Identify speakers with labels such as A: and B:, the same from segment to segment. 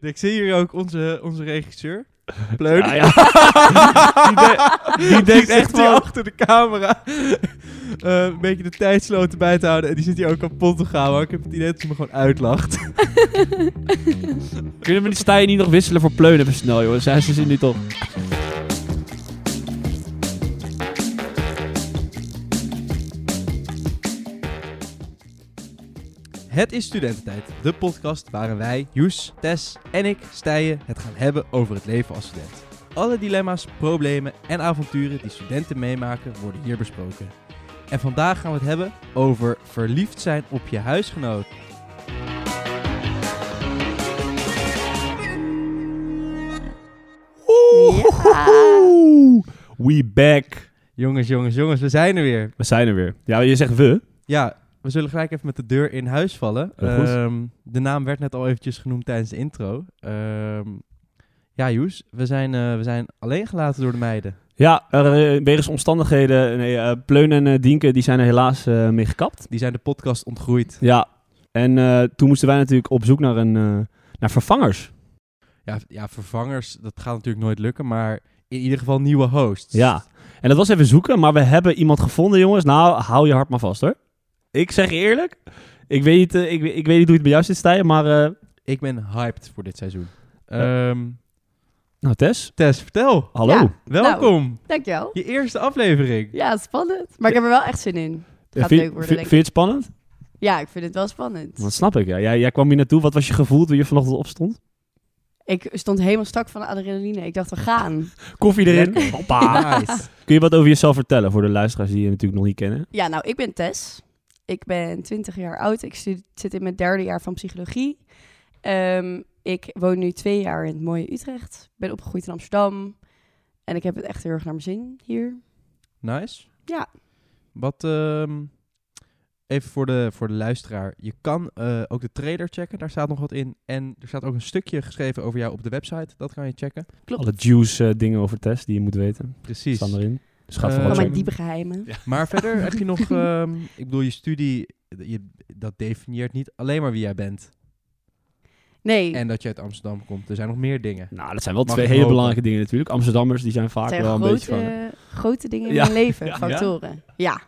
A: Ik zie hier ook onze, onze regisseur. Pleun.
B: Ah, ja.
A: die, de- die denkt
B: zit
A: echt
B: hier
A: van... achter de camera. eh, een beetje de tijdsloten bij te houden. En die zit hier ook kapot te gaan. Maar ik heb het idee dat ze me gewoon uitlacht.
B: Kunnen we die stijl niet nog wisselen voor pleunen even snel, joh? Zij ze zit nu toch.
A: Het is Studententijd, de podcast waarin wij, Joes, Tess en ik, Stijen, het gaan hebben over het leven als student. Alle dilemma's, problemen en avonturen die studenten meemaken worden hier besproken. En vandaag gaan we het hebben over verliefd zijn op je huisgenoot.
B: Oeh, We back.
A: Jongens, jongens, jongens, we zijn er weer.
B: We zijn er weer. Ja, je zegt we.
A: Ja, we zullen gelijk even met de deur in huis vallen.
B: Heel goed.
A: Ehm, de naam werd net al eventjes genoemd tijdens de intro. Ehm, ja, Joes, we zijn, eh, we zijn alleen gelaten door de meiden.
B: Ja, er, eh, wegens omstandigheden. Nee, eh, Pleun en eh, Dienke die zijn er helaas eh, mee gekapt.
A: Die zijn de podcast ontgroeid.
B: Ja. En eh, toen moesten wij natuurlijk op zoek naar, een, eh, naar vervangers.
A: Ja, v- ja, vervangers, dat gaat natuurlijk nooit lukken, maar in ieder geval nieuwe hosts.
B: Ja. En dat was even zoeken, maar we hebben iemand gevonden, jongens. Nou, hou je hart maar vast hoor. Ik zeg je eerlijk. Ik weet, niet, eh, ik, ik weet niet hoe het bij jou zit, Stijn, maar. eh,
A: Ik ben hyped voor dit seizoen. Ehm,
B: nou, Tess.
A: Tess, vertel.
B: Hallo.
C: Ja.
A: Welkom.
C: Dankjewel.
A: Je eerste aflevering.
C: Ja, spannend. Maar ik heb er wel echt zin in.
B: Eh,
C: Gaat
B: vind,
C: leuk worden,
B: vind-
C: denk ik.
B: vind je het spannend?
C: Ja, ik vind het wel spannend.
B: Dat snap ik, ja. Jij, jij kwam hier naartoe. Wat was je gevoel toen je vanochtend opstond?
C: Ik stond helemaal strak van de adrenaline. Ik dacht, we gaan.
B: Koffie
A: erin.
B: Hoppa.
A: Nice.
B: Kun je wat over jezelf vertellen voor de luisteraars die je natuurlijk nog niet kennen?
C: Ja, nou, ik ben Tess. Ik ben 20 jaar oud. Ik stu- zit in mijn derde jaar van psychologie. Ehm, ik woon nu twee jaar in het mooie Utrecht. Ik ben opgegroeid in Amsterdam. En ik heb het echt heel erg naar mijn zin hier.
A: Nice.
C: Ja.
A: Wat, ehm, even voor de, voor de luisteraar. Je kan eh, ook de trailer checken, daar staat nog wat in. En er staat ook een stukje geschreven over jou op de website. Dat kan je checken.
C: Klopt.
B: Alle juice eh, dingen over Tess die je moet weten.
A: Precies.
B: Staan erin. Dus ga
A: Eh,
B: vooral
C: Van mijn
B: checken.
C: diepe geheimen.
B: Ja.
A: Maar verder heb je nog, ehm, ik bedoel, je studie, je, dat definieert niet alleen maar wie jij bent.
C: Nee,
A: En dat je uit Amsterdam komt. Er zijn nog meer dingen.
B: Nou, dat zijn wel
A: Mag
B: twee
A: ik
B: hele
A: hopen.
B: belangrijke dingen natuurlijk. Amsterdammers, die zijn vaak
C: het zijn
B: wel een
C: grote,
B: beetje van... eh,
C: grote dingen in
B: Ja.
C: mijn leven.
B: Ja.
C: Factoren. Ja.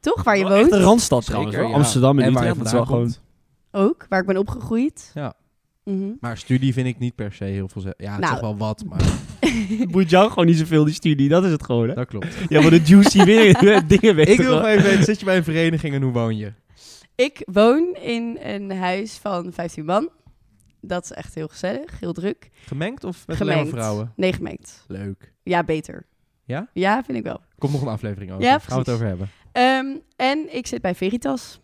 C: Toch, waar je
B: wel echt
C: woont.
B: een randstad trouwens.
A: Zeker,
B: hoor.
A: ja.
B: Amsterdam en,
A: En waar je
B: Utrecht, dat is wel
A: vandaan
B: gewoon...
A: komt.
C: Ook, waar ik ben opgegroeid.
A: Ja.
C: Mhm.
A: Maar studie vind ik niet per se heel veel. ze- Ja,
C: Nou.
A: toch wel wat, maar
B: Boeit jou gewoon niet zoveel die studie, dat is het gewoon hè.
A: dat klopt.
B: Ja, maar de juicy weer- dingen weten.
A: ik wil
B: gewoon.
A: nog even weten, zit je bij een vereniging en hoe woon je?
C: Ik woon in een huis van 15 man. Dat is echt heel gezellig, heel druk.
A: Gemengd of met alleen
C: gemengd.
A: maar vrouwen?
C: Nee, gemengd.
A: Leuk.
C: Ja, beter.
A: Ja?
C: Ja, vind ik wel.
A: Komt nog een aflevering over.
C: Ja,
A: Gaan we het
C: precies.
A: over hebben.
C: Ehm, en ik zit bij Veritas.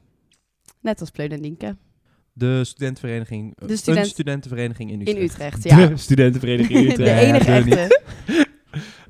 C: Net als Pleun en Dienke.
A: De studentenvereniging. eh,
C: De student-
A: Een studentenvereniging in
C: In
A: Utrecht.
C: Utrecht, ja.
B: De studentenvereniging Utrecht.
C: De enige
A: Ja, doe
C: echte.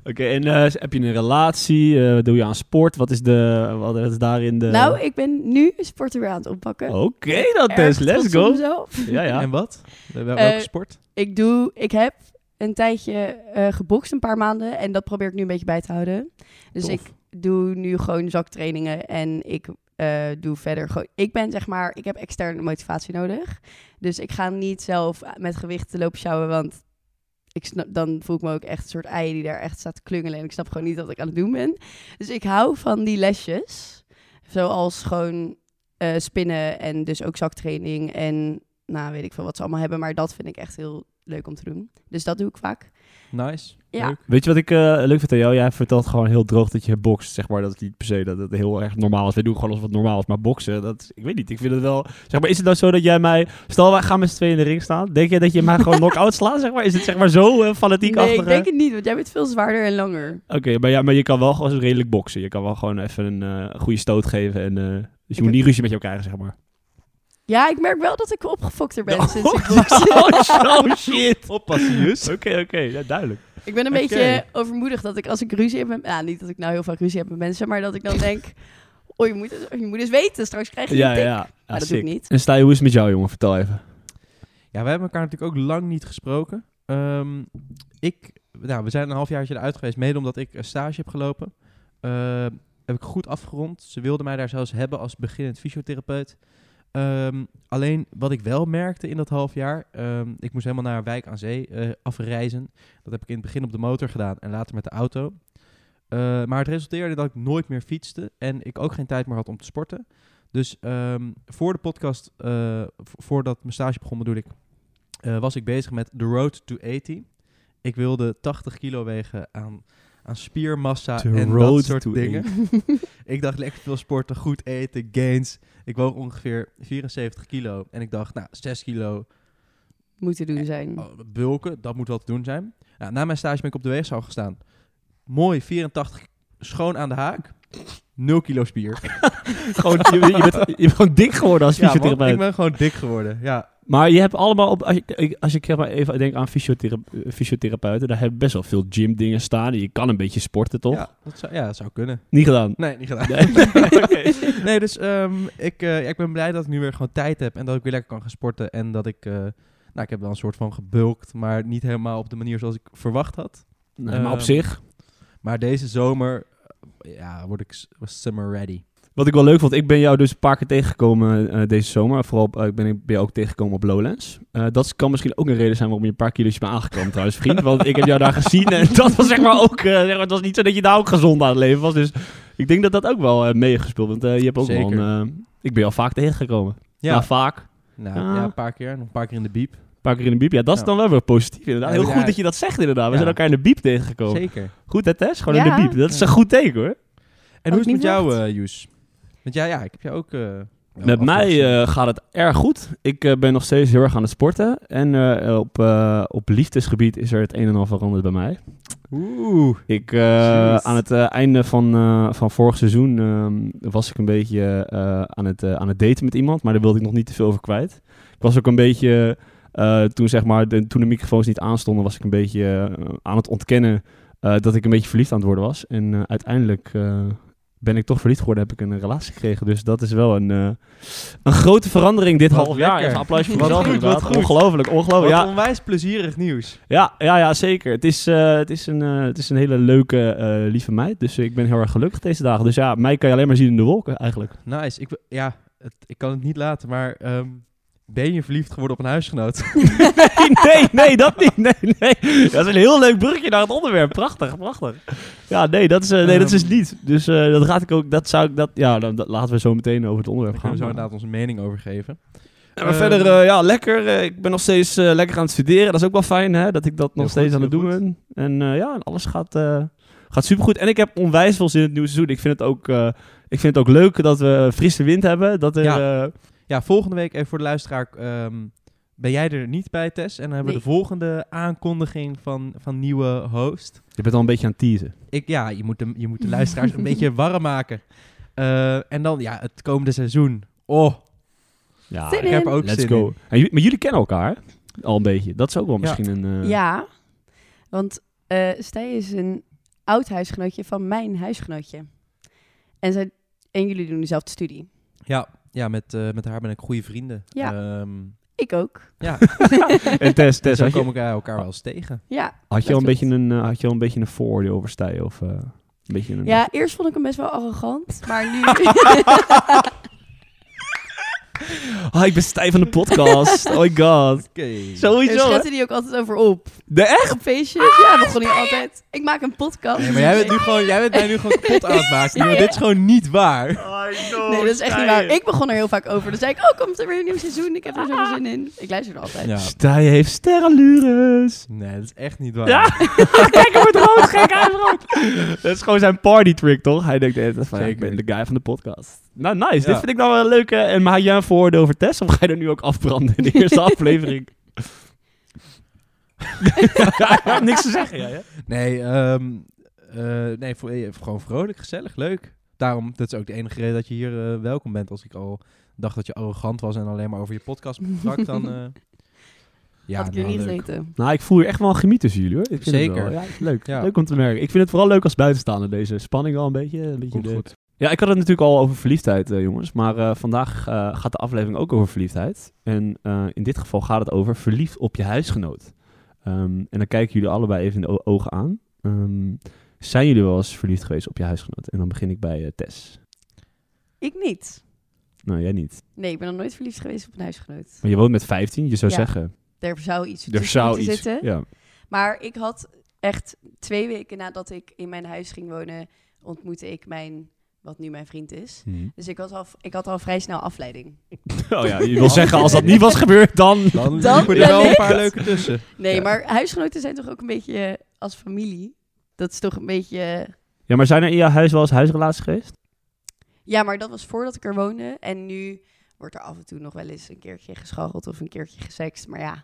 B: Oké, en eh, heb je een relatie? Eh, doe je aan sport? Wat is, de, wat is daarin de...
C: Nou, ik ben nu sporten weer aan het oppakken.
B: Oké dan Tess,
C: Erg
B: let's
C: trots op
B: go.
C: mezelf.
B: Ja, ja.
A: En wat? Wel- Welke
C: Eh,
A: sport?
C: Ik, doe, ik heb een tijdje eh, gebokst, een paar maanden. En dat probeer ik nu een beetje bij te houden. Dus
A: Tof.
C: ik doe nu gewoon zaktrainingen en ik eh, doe verder gewoon... Ik ben zeg maar, ik heb externe motivatie nodig. Dus ik ga niet zelf eh, met gewichten lopen sjouwen, want ik snap, dan voel ik me ook echt een soort ei die daar echt staat te klungelen. En ik snap gewoon niet wat ik aan het doen ben. Dus ik hou van die lesjes. Zoals gewoon eh, spinnen en dus ook zaktraining en nou weet ik veel wat ze allemaal hebben. Maar dat vind ik echt heel leuk om te doen. Dus dat doe ik vaak.
A: Nice.
C: Ja.
A: Leuk.
B: Weet je wat ik eh, leuk vind aan jou? Jij vertelt gewoon heel droog dat je bokst, zeg maar. Dat is niet per se dat het heel erg normaal is. Wij doen gewoon alsof het normaal is. Maar boksen, dat is- ik weet niet. Ik vind het wel... Zeg maar, is het nou zo dat jij mij... Stel, wij gaan met z'n tweeën in de ring staan. Denk je dat je mij gewoon knock-out slaat, zeg maar? Is het zeg maar zo eh, fanatiek
C: nee, ik
B: achtige-
C: denk het niet, want jij bent veel zwaarder en langer.
B: Oké, maar, ja, maar je kan wel gewoon redelijk boksen. Je kan wel gewoon even een eh, goede stoot geven. En, eh, dus je moet
C: heb-
B: niet ruzie met jou krijgen, zeg maar.
C: Ja, ik merk wel dat ik opgefokter ben
B: Oh,
C: sinds ik box.
B: oh shit.
A: Oppassen, Jus.
B: Oké, oké. Ja, duidelijk.
C: ik ben een
A: Oké.
C: beetje overmoedig dat ik als ik ruzie heb met... Nou, niet dat ik nou heel veel ruzie heb met mensen, maar dat ik dan denk... Oh, je moet, eens- je moet eens weten, straks krijg je
B: Ja,
C: een tik.
B: ja.
C: Maar dat doe ik niet.
B: En sta je, hoe is het met jou, jongen? Vertel even.
A: Ja, we hebben elkaar natuurlijk ook lang niet gesproken. Ehm, ik, nou, we zijn een halfjaartje eruit geweest, mede omdat ik een stage heb gelopen. Ehm, heb ik goed afgerond. Ze wilden mij daar zelfs hebben als beginnend fysiotherapeut. Ehm, alleen wat ik wel merkte in dat half jaar, ehm, ik moest helemaal naar Wijk aan Zee eh, afreizen. Dat heb ik in het begin op de motor gedaan en later met de auto. Eh, maar het resulteerde dat ik nooit meer fietste en ik ook geen tijd meer had om te sporten. Dus ehm, voor de podcast, eh, v- voordat mijn stage begon bedoel ik, eh, was ik bezig met The Road to 80. Ik wilde 80 kilo wegen aan, aan spiermassa
B: The
A: en
B: road
A: dat soort
B: to
A: dingen. ik dacht lekker veel sporten, goed eten, gains. Ik woog ongeveer 74 kilo en ik dacht, nou, 6 kilo
C: Moeten doen zijn.
A: Oh, bulken, dat moet wel te doen zijn. Nou, na mijn stage ben ik op de weegschaal gestaan. Mooi, 84, schoon aan de haak. 0 kilo spier.
B: gewoon, je, je bent, je bent gewoon dik geworden als
A: Ja, man,
B: fysiotherapeut.
A: ik ben gewoon dik geworden. Ja,
B: Maar je hebt allemaal, op, als, je, ik- als ik zeg maar even denk aan fysiothera- eh, fysiotherapeuten, daar hebben best wel veel gymdingen staan. Je kan een beetje sporten, toch?
A: Ja, dat zou, ja, dat zou kunnen.
B: Niet gedaan.
A: Nee, niet gedaan.
B: Nee.
A: Nee, dus ehm, ik, eh, ja, ik ben blij dat ik nu weer gewoon tijd heb en dat ik weer lekker kan gaan sporten. En dat ik, eh, nou, ik heb wel een soort van gebulkt, maar niet helemaal op de manier zoals ik verwacht had.
B: Nee,
C: Eh,
B: maar op
A: Ehm,
B: zich,
A: Maar deze zomer, eh, ja, word ik s- summer ready.
B: Wat ik wel leuk vond, ik ben jou dus een paar keer tegengekomen eh, deze zomer. Vooral op- eh, ik ben, ik ben jou ook tegengekomen op Lowlands. Eh, dat kan misschien ook een reden zijn waarom je een paar kilo's bent aangekomen trouwens, vriend. Want ik heb jou daar gezien en dat was zeg maar ook... eh, zeg maar, het was niet zo dat je daar ook gezond aan het leven was. Dus ik denk dat dat ook wel eh, meegespeeld. Want eh, je hebt ook wel
A: Zeker.
B: een... eh, ik ben jou vaak tegengekomen. Ja,
A: Ja,
B: vaak.
A: nou,
B: Ah.
A: ja, een paar keer. Nog een paar keer in de biep.
B: Een paar keer in de biep. Ja, dat is
A: Ja.
B: dan wel weer positief inderdaad.
A: Ja,
B: Heel
A: ja.
B: goed dat je dat zegt inderdaad. We
A: Ja.
B: zijn elkaar in de biep tegengekomen.
A: Zeker.
B: Goed hè Tess? Gewoon in
C: Ja.
B: de biep. Dat is
A: Ja.
B: een goed teken hoor.
A: En hoe is
C: Had ik
A: het met
C: niet
A: jou, eh Joes? Want jij, ja, ik heb jou ook... eh, wel
B: Met mij
A: afgezien.
B: eh, gaat het erg goed. Ik eh, ben nog steeds heel erg aan het sporten. En eh, op, eh, op liefdesgebied is er het een en ander veranderd bij mij.
A: Oeh.
B: Ik, eh,
A: Jeez.
B: aan het eh, einde van, eh, van vorig seizoen ehm, was ik een beetje eh, aan, het, eh, aan het daten met iemand. Maar daar wilde ik nog niet te veel over kwijt. Ik was ook een beetje, eh, toen, zeg maar, de, toen de microfoons niet aanstonden, was ik een beetje eh, aan het ontkennen eh, dat ik een beetje verliefd aan het worden was. En eh, uiteindelijk eh, ben ik toch verliefd geworden, heb ik een relatie gekregen. Dus dat is wel een, eh, een grote verandering dit
A: Wat
B: half jaar.
A: lekker.
B: Even een applausje voor
A: Wat
B: mezelf
A: goed, wat
B: inderdaad.
A: goed.
B: Ongelooflijk,
A: Wat
B: ongelooflijk. Oh, Ja,
A: onwijs plezierig nieuws.
B: ja, ja, ja zeker. Het is, eh, het, is een, eh, het is een hele leuke, eh, lieve meid. Dus ik ben heel erg gelukkig deze dagen. Dus ja, mij kan je alleen maar zien in de wolken eigenlijk.
A: Nice. Ik, w- ja, het, ik kan het niet laten, maar... ehm, ben je verliefd geworden op een huisgenoot?
B: Nee, nee, nee, dat niet. Nee, nee. Dat is een heel leuk brugje naar het onderwerp. Prachtig, prachtig. Ja, nee, dat is, eh, nee, dat is het niet. Dus eh, dat gaat ik ook, dat zou ik, dat, ja, dan, dat laten we zo meteen over het onderwerp
A: Daar kunnen
B: gaan.
A: we zo
B: Maar-
A: inderdaad onze mening over geven.
B: Ja, maar
A: Eh,
B: verder, eh, ja, lekker. Eh, ik ben nog steeds eh, lekker aan het studeren. Dat is ook wel fijn, hè? Dat ik dat nog
A: Heel
B: steeds
A: goed,
B: aan het
A: heel
B: doen ben. En eh, ja, alles gaat, eh gaat supergoed. En ik heb onwijs veel zin in het nieuwe seizoen. Ik vind het ook, eh, ik vind het ook leuk dat we frisse wind hebben. Dat er,
A: Ja.
B: eh,
A: Ja, volgende week, even voor de luisteraar... ehm, ben jij er niet bij, Tess? En dan hebben we de volgende aankondiging van, van nieuwe host.
B: Je bent al een beetje aan het teasen.
A: Ik, ja, je moet, de, je moet de luisteraars een beetje warm maken. Eh, en dan, ja, het komende seizoen. Oh,
B: Ja,
C: Zin
A: ik heb
C: in.
A: er ook
B: let's
A: zin
B: go.
A: in.
B: En jullie- maar jullie kennen elkaar al een beetje. Dat is ook wel misschien een... eh,
C: Ja, want eh Stij is een oud huisgenootje van mijn huisgenootje. En, zij, en jullie doen dezelfde studie.
A: Ja, ja met, eh, met haar ben ik goede vrienden.
C: Ja.
A: Ehm,
C: Ik ook.
A: ja.
B: En Tess,
A: en
B: Tess
A: zo
B: had, je,
A: komen elkaar, elkaar wel eens tegen.
C: Ja.
B: had, je al een
C: klopt.
B: beetje een, eh, had je al een beetje een vooroordeel over Stij? Of eh, een beetje een...
C: Ja, eerst vond ik hem best wel arrogant, maar nu...
B: Ah, ik ben Stij van de podcast. oh my god.
A: Oké.
C: Daar
B: Sowieso. hè?
C: schette hij ook altijd over op.
B: De echt?
C: Op feestjes, ja, begon hij altijd. Ik maak een podcast.
A: Ah, Nee, maar jij bent, nu gewoon, jij bent mij nu gewoon kapot aan het maken.
C: Ja,
A: maar
C: ja.
A: dit is gewoon niet waar.
C: Nee,
A: Oh,
C: dat is echt niet waar. Ik begon er heel vaak over. Dan zei ik, oh, komt er weer een nieuw seizoen. Ik heb er zoveel zin in. Ik luister er altijd.
A: Ja.
B: Stij heeft sterrenlures.
A: Nee, dat is echt niet waar.
B: Ja, kijk hem wordt rood, gek, hij wordt rood. Dat is gewoon zijn party trick, toch? Hij denkt, de hele tijd van, ja, ik
A: Zeker.
B: ben de guy van de podcast. Nou, nice.
A: Ja.
B: Dit vind ik nou wel een leuke. En maar had jij een vooroordeel over Tess? Of ga je er nu ook afbranden in de eerste aflevering? ja, ik heb niks te zeggen, jij, hè?
A: Nee, ehm, eh, nee voor, eh, gewoon vrolijk, gezellig, leuk. Daarom, dat is ook de enige reden dat je hier eh, welkom bent. Als ik al dacht dat je arrogant was en alleen maar over je podcast sprak, dan... eh, ja,
C: Had ik er
A: nou,
C: niet
A: leuk.
C: gezeten.
B: Nou, ik voel hier echt wel een chemie tussen jullie, hoor. Ik vind het
A: Zeker.
B: wel- ja, het is leuk.
A: Ja.
B: Leuk om te merken. Ik vind het vooral leuk als buitenstaander, deze spanning al een beetje. Een beetje
A: Komt
B: de-
A: goed.
B: Ja, ik had het natuurlijk al over verliefdheid, eh, jongens. Maar eh, vandaag eh, gaat de aflevering ook over verliefdheid. En eh, in dit geval gaat het over verliefd op je huisgenoot. Ehm, en dan kijken jullie allebei even in de o- ogen aan. Ehm, zijn jullie wel eens verliefd geweest op je huisgenoot? En dan begin ik bij eh, Tess.
C: Ik niet.
B: Nou, jij niet.
C: Nee, ik ben nog nooit verliefd geweest op een huisgenoot.
B: Maar je woont met 15, je zou
C: Ja.
B: zeggen. Oh
C: Er zou iets
B: Er
C: tussen
B: zou
C: moeten
B: iets.
C: zitten.
B: Ja.
C: Maar ik had echt twee weken nadat ik in mijn huis ging wonen, ontmoette ik mijn, wat nu mijn vriend is. Dus ik had al, ik had al vrij snel afleiding.
B: Oh ja, je wil zeggen, als dat niet was gebeurd, dan.
A: Dan,
C: Dan
A: liepen er
C: ben
A: wel een
C: ik-
A: paar leuke tussen.
C: Nee,
B: Ja.
C: maar huisgenoten zijn toch ook een beetje eh, als familie? Dat is toch een beetje... eh,
B: Ja, maar zijn er in jouw huis wel eens huisrelaties geweest?
C: Ja, maar dat was voordat ik er woonde. En nu wordt er af en toe nog wel eens een keertje gescharreld of een keertje gesext. Maar ja,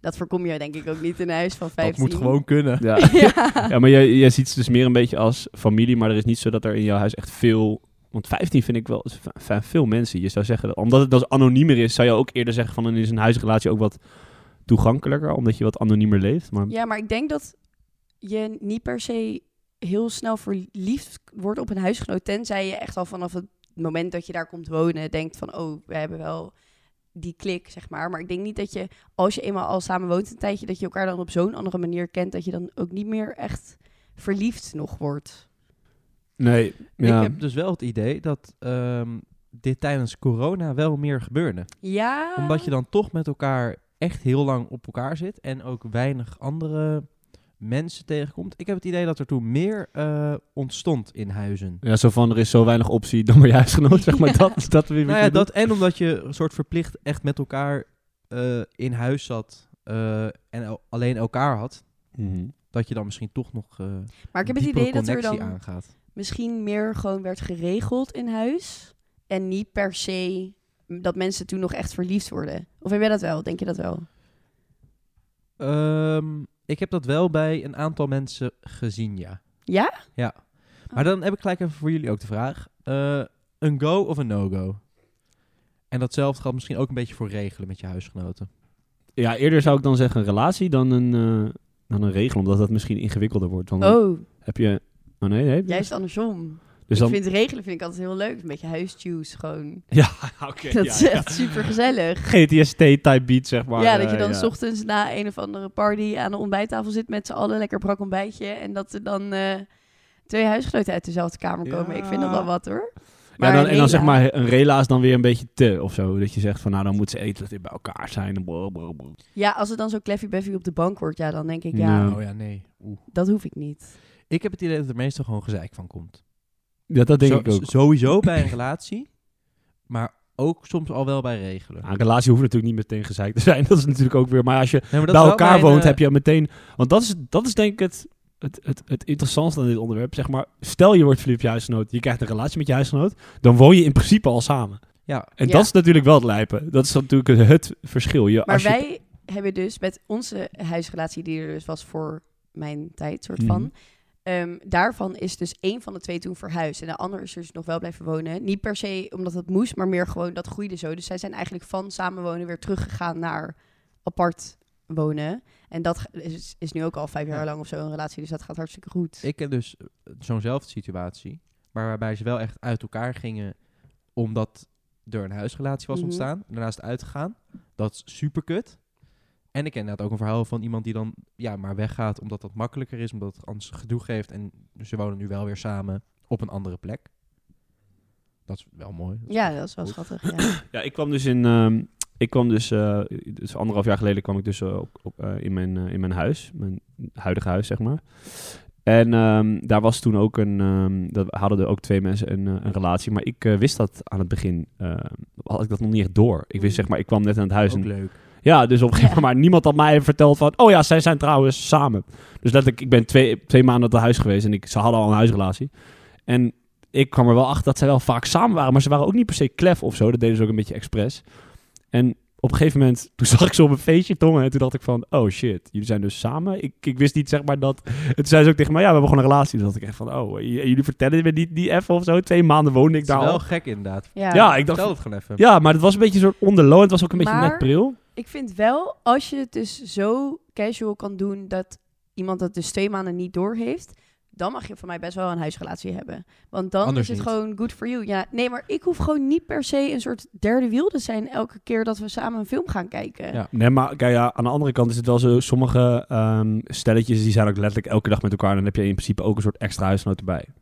C: dat voorkom je denk ik ook niet in een huis van 15.
A: Dat moet gewoon kunnen.
B: Ja.
C: Ja.
B: Ja, maar jij, jij ziet ze dus meer een beetje als familie, maar er is niet zo dat er in jouw huis echt veel... Want 15 vind ik wel is v- v- veel mensen. Je zou zeggen, dat- omdat het dus anoniemer is, zou je ook eerder zeggen van dan is een huisrelatie ook wat toegankelijker, omdat je wat anoniemer leeft. Maar
C: Ja, maar ik denk dat je niet per se heel snel verliefd wordt op een huisgenoot. Tenzij je echt al vanaf het moment dat je daar komt wonen denkt van... oh, we hebben wel die klik, zeg maar. Maar ik denk niet dat je, als je eenmaal al samen woont een tijdje... dat je elkaar dan op zo'n andere manier kent... dat je dan ook niet meer echt verliefd nog wordt.
B: nee, ja.
A: Ik heb dus wel het idee dat ehm, dit tijdens corona wel meer gebeurde.
C: Ja,
A: Omdat je dan toch met elkaar echt heel lang op elkaar zit en ook weinig andere mensen tegenkomt. Ik heb het idee dat er toen meer eh, ontstond in huizen.
B: ja, zo van er is zo weinig optie, dan maar je huisgenoot, zeg maar.
C: Ja.
B: Dat, dat weer
A: Nou ja, dat en omdat je een soort verplicht echt met elkaar eh, in huis zat eh, en el- alleen elkaar had,
B: Mhm.
A: dat je dan misschien toch nog eh
C: maar ik heb het
A: diepere
C: idee dat er
A: connectie
C: dan
A: aangaat.
C: misschien meer gewoon werd geregeld in huis... en niet per se dat mensen toen nog echt verliefd worden. Of heb jij dat wel? Denk je dat wel?
A: Ehm, ik heb dat wel bij een aantal mensen gezien, ja.
C: Ja?
A: Ja. Maar dan heb ik gelijk even voor jullie ook de vraag. eh, een go of een no-go? En datzelfde geldt misschien ook een beetje voor regelen met je huisgenoten.
B: Ja, eerder zou ik dan zeggen een relatie dan een, eh, dan een regel, omdat dat misschien ingewikkelder wordt. Dan
C: Oh,
B: heb je... Oh nee, nee.
C: juist andersom.
B: Dus dan...
C: Ik vind regelen vind ik altijd heel leuk. Een beetje huisjuice gewoon.
B: Ja, oké.
C: Dat
B: ja,
C: is
B: ja.
C: echt super gezellig.
B: GTST-type beat, zeg maar.
C: ja, dat je
B: eh,
C: dan s ochtends na een of andere party aan de ontbijttafel zit met z'n allen. Lekker brak ontbijtje. En dat er dan eh, twee huisgenoten uit dezelfde kamer komen.
B: Ja.
C: Ik vind dat wel wat hoor.
B: Ja, dan, en
C: rela-
B: dan zeg maar, een rela is dan weer een beetje te of zo. Dat je zegt van, nou, dan moet ze eten dat bij elkaar zijn. en brr, brr, brr.
C: Ja, als het dan zo Cleffy Beffy op de bank wordt, ja, dan denk ik, ja,
B: Ja.
A: Oh ja, nee. Oeh.
C: dat hoef ik niet.
A: Ik heb het idee dat er meestal gewoon gezeik van komt.
B: Ja, dat denk
A: Zo-
B: ik ook.
A: s- Sowieso bij een relatie, maar ook soms al wel bij regelen.
B: Ja, een relatie hoeft natuurlijk niet meteen gezeik te zijn. Dat is natuurlijk ook weer... Maar als je
A: Nee, maar dat
B: bij
A: is wel
B: elkaar
A: mijn,
B: woont,
A: eh,
B: heb je meteen... Want dat is, dat is denk ik het, het, het, het interessantste aan dit onderwerp. Zeg maar, stel je wordt verliefd op je huisgenoot. Je krijgt een relatie met je huisgenoot. Dan woon je in principe al samen.
A: Ja,
B: En
C: Ja.
B: dat is natuurlijk wel het lijpen. Dat is natuurlijk het, het verschil. Je,
C: Maar
B: als je-
C: wij hebben dus met onze huisrelatie, die er dus was voor mijn tijd, soort van.
B: Mhm.
C: ehm, daarvan is dus één van de twee toen verhuisd. En de ander is dus nog wel blijven wonen. Niet per se omdat het moest, maar meer gewoon dat groeide zo. Dus zij zijn eigenlijk van samenwonen weer teruggegaan naar apart wonen. En dat ge- is, is nu ook al vijf jaar
A: Ja.
C: lang of zo een relatie. Dus dat gaat hartstikke goed.
A: ik ken dus eh, zo'nzelfde situatie, maar waarbij ze wel echt uit elkaar gingen omdat er een huisrelatie was
C: Mhm.
A: ontstaan. Daarna is het uitgegaan. Dat is super kut. En ik ken inderdaad ook een verhaal van iemand die dan ja, maar weggaat omdat dat makkelijker is, omdat het anders gedoe geeft. En ze wonen nu wel weer samen op een andere plek. Dat is wel mooi. Dat is
C: ja,
A: wel
C: dat is wel
A: goed.
C: schattig. Ja.
B: Ja, ik kwam dus in. ehm, ik kwam dus, eh, dus anderhalf jaar geleden kwam ik dus eh, op, op, eh, in, mijn, eh, in mijn huis, mijn huidige huis, zeg maar. En ehm, daar was toen ook een, ehm dat hadden er ook twee mensen een, eh, een relatie, maar ik eh, wist dat aan het begin, ehm, had ik dat nog niet echt door. Ik wist zeg maar, ik kwam net aan het huis en
A: Ook leuk.
B: ja, dus op een gegeven
C: Ja.
B: moment, maar niemand had mij verteld van, oh ja, zij zijn trouwens samen. Dus letterlijk, ik ben twee, twee maanden uit het huis geweest en ik, ze hadden al een huisrelatie. En ik kwam er wel achter dat zij wel vaak samen waren, maar ze waren ook niet per se klef of zo. Dat deden ze ook een beetje expres. En op een gegeven moment, toen zag ik ze op een feestje tongen en toen dacht ik van, oh shit, jullie zijn dus samen? Ik, ik wist niet zeg maar dat. En toen zei ze ook tegen mij, ja, we hebben gewoon een relatie. Toen dacht ik echt van, oh, j- jullie vertellen me niet, niet even of zo. Twee maanden woonde ik
A: Het is
B: daar
A: wel
B: al.
A: gek inderdaad.
C: Ja.
B: Ja, Ah, ik dacht,
A: Vertel het gewoon even.
B: ja, maar het was een beetje een soort onderloon. Het was ook een beetje
C: Maar-
B: net pril.
C: Ik vind wel, als je het dus zo casual kan doen dat iemand dat dus twee maanden niet door heeft, dan mag je van mij best wel een huisrelatie hebben. Want dan
A: Anders
C: is het
A: niet.
C: gewoon good for you. Ja, nee, maar ik hoef gewoon niet per se een soort derde wiel te zijn elke keer dat we samen een film gaan kijken.
A: Ja.
B: Nee, maar kijk, ja, aan de andere kant is het wel zo... Sommige ehm, stelletjes die zijn ook letterlijk elke dag met elkaar... en dan heb je in principe ook een soort extra huisgenoot erbij.
C: Ja,